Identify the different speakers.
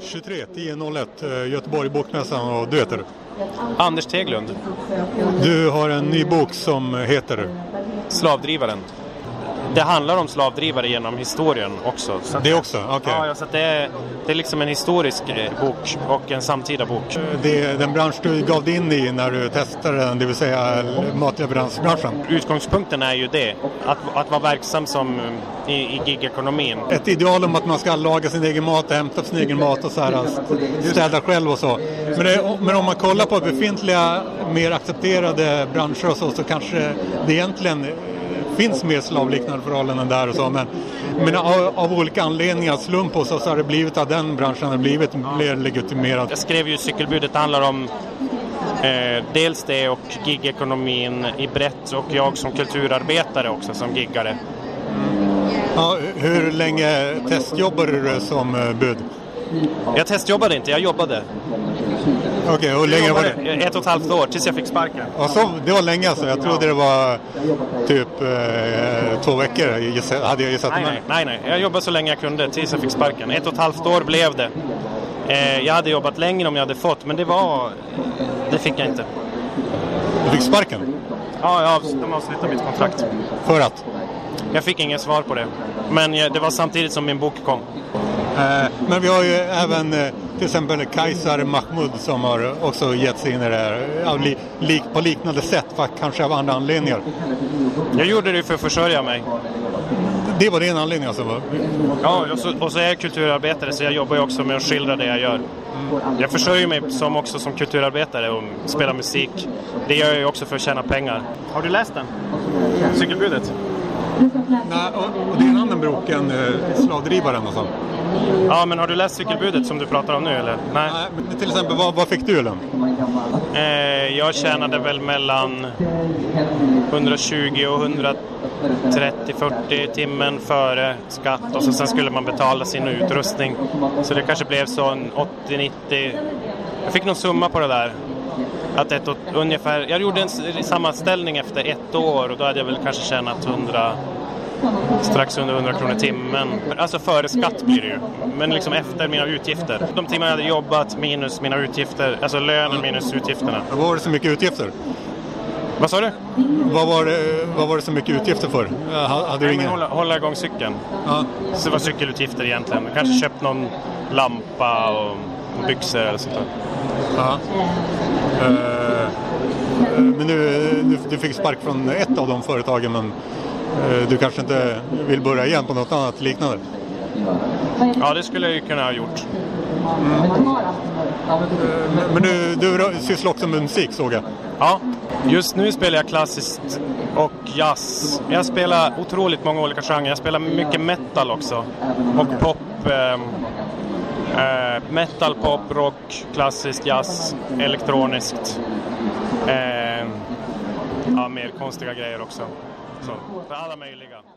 Speaker 1: 23, 10.01, eh, Göteborg, Bokmässan och du heter?
Speaker 2: Anders Teglund,
Speaker 1: Du har en ny bok som heter?
Speaker 2: slavdrivaren. Det handlar om slavdrivare genom historien också. Så att-
Speaker 1: Det också? Okej.
Speaker 2: Ja, ja, så att det, är, det är liksom en historisk eh, bok och en samtida bok.
Speaker 1: Det är den bransch du gav dig in i när du testade den, det vill säga matleveransbranschen.
Speaker 2: Utgångspunkten är ju det, att, att vara verksam som eh, i, i gigekonomin.
Speaker 1: Ett ideal om att man ska laga sin egen mat, hämta sin egen mat och så här, alltså. städa själv och så. Men, det, men om man kollar på befintliga, mer accepterade branscher och så, så kanske det egentligen finns mer slavliknande förhållanden där och så. Men, men av, av olika anledningar, slump och så, så har det blivit att den branschen har blivit mer legitimerad.
Speaker 2: Jag skrev ju cykelbudet, det handlar om eh, dels det och gigekonomin i brett och jag som kulturarbetare också som giggare.
Speaker 1: Ja, hur länge testjobbar du som eh, bud?
Speaker 2: Jag testjobbade inte, jag jobbade. Eh,
Speaker 1: Okej, hur länge var det?
Speaker 2: Ett och ett halvt år, tills jag fick sparken.
Speaker 1: Ja, så, det var länge alltså. Jag trodde det var typ eh, två veckor, gissa- hade jag gissat.
Speaker 2: Nej,
Speaker 1: Men-
Speaker 2: nej, nej, nej. Jag jobbade så länge jag kunde tills jag fick sparken. Ett och ett halvt år blev det. Eh, jag hade jobbat längre om jag hade fått, men det var... Det fick jag inte.
Speaker 1: Du fick sparken?
Speaker 2: Ja, jag avs- de avslutade mitt kontrakt.
Speaker 1: För att?
Speaker 2: Jag fick inget svar på det. Men jag, det var samtidigt som min bok kom.
Speaker 1: Eh, men vi har ju även eh, till exempel Kaisar Mahmud som har också gett sig in i det här av li, lik, på liknande sätt, fast kanske av andra anledningar.
Speaker 2: Jag gjorde det för att försörja mig.
Speaker 1: Det var din anledning alltså? va?
Speaker 2: Ja, och så, och så är jag kulturarbetare, så jag jobbar ju också med att skildra det jag gör. Jag försörjer mig som också som kulturarbetare och spelar musik. Det gör jag ju också för att tjäna pengar. Har du läst den? Cykelbudet?
Speaker 1: Nej, och, och det är en annan broken, eh, Slavdrivaren och sånt.
Speaker 2: Ja, men har du läst cykelbudet som du pratar om nu eller? Nej.
Speaker 1: Nej, men till exempel, vad, vad fick du i lön?
Speaker 2: Eh, jag tjänade väl mellan 120 och 130-40 timmen före skatt och så sen skulle man betala sin utrustning. Så det kanske blev så en 80-90. Jag fick någon summa på det där. Att ett, och- ungefär, jag gjorde en s- sammanställning efter ett år och då hade jag väl kanske tjänat 100, strax under 100 kronor timmen. Alltså före skatt blir det ju, men liksom efter mina utgifter. De timmar jag hade jobbat minus mina utgifter, alltså lönen minus utgifterna.
Speaker 1: Vad var det så mycket utgifter?
Speaker 2: Vad sa du?
Speaker 1: Vad var det, vad var det så mycket utgifter för? Eh, ha- Hade du
Speaker 2: Nej, men
Speaker 1: ingen?
Speaker 2: hålla, hålla igång cykeln.
Speaker 1: Ja.
Speaker 2: Så det var cykelutgifter egentligen. Kanske köpt någon lampa och byxor eller sånt där.
Speaker 1: Ja. Eh, Men nu, du, du fick spark från ett av de företagen men eh, du kanske inte vill börja igen på något annat liknande?
Speaker 2: Ja, det skulle jag ju kunna ha gjort.
Speaker 1: Eh, Men, men du, du rör- sysslar också med musik såg jag.
Speaker 2: Ja, just nu spelar jag klassiskt och jazz. Jag spelar otroligt många olika genrer. Jag spelar mycket metal också. Och pop. ehm, eh, metal, pop, rock, klassiskt, jazz, elektroniskt. Ehm, Eh, ja, mer konstiga grejer också. Så, för alla möjliga.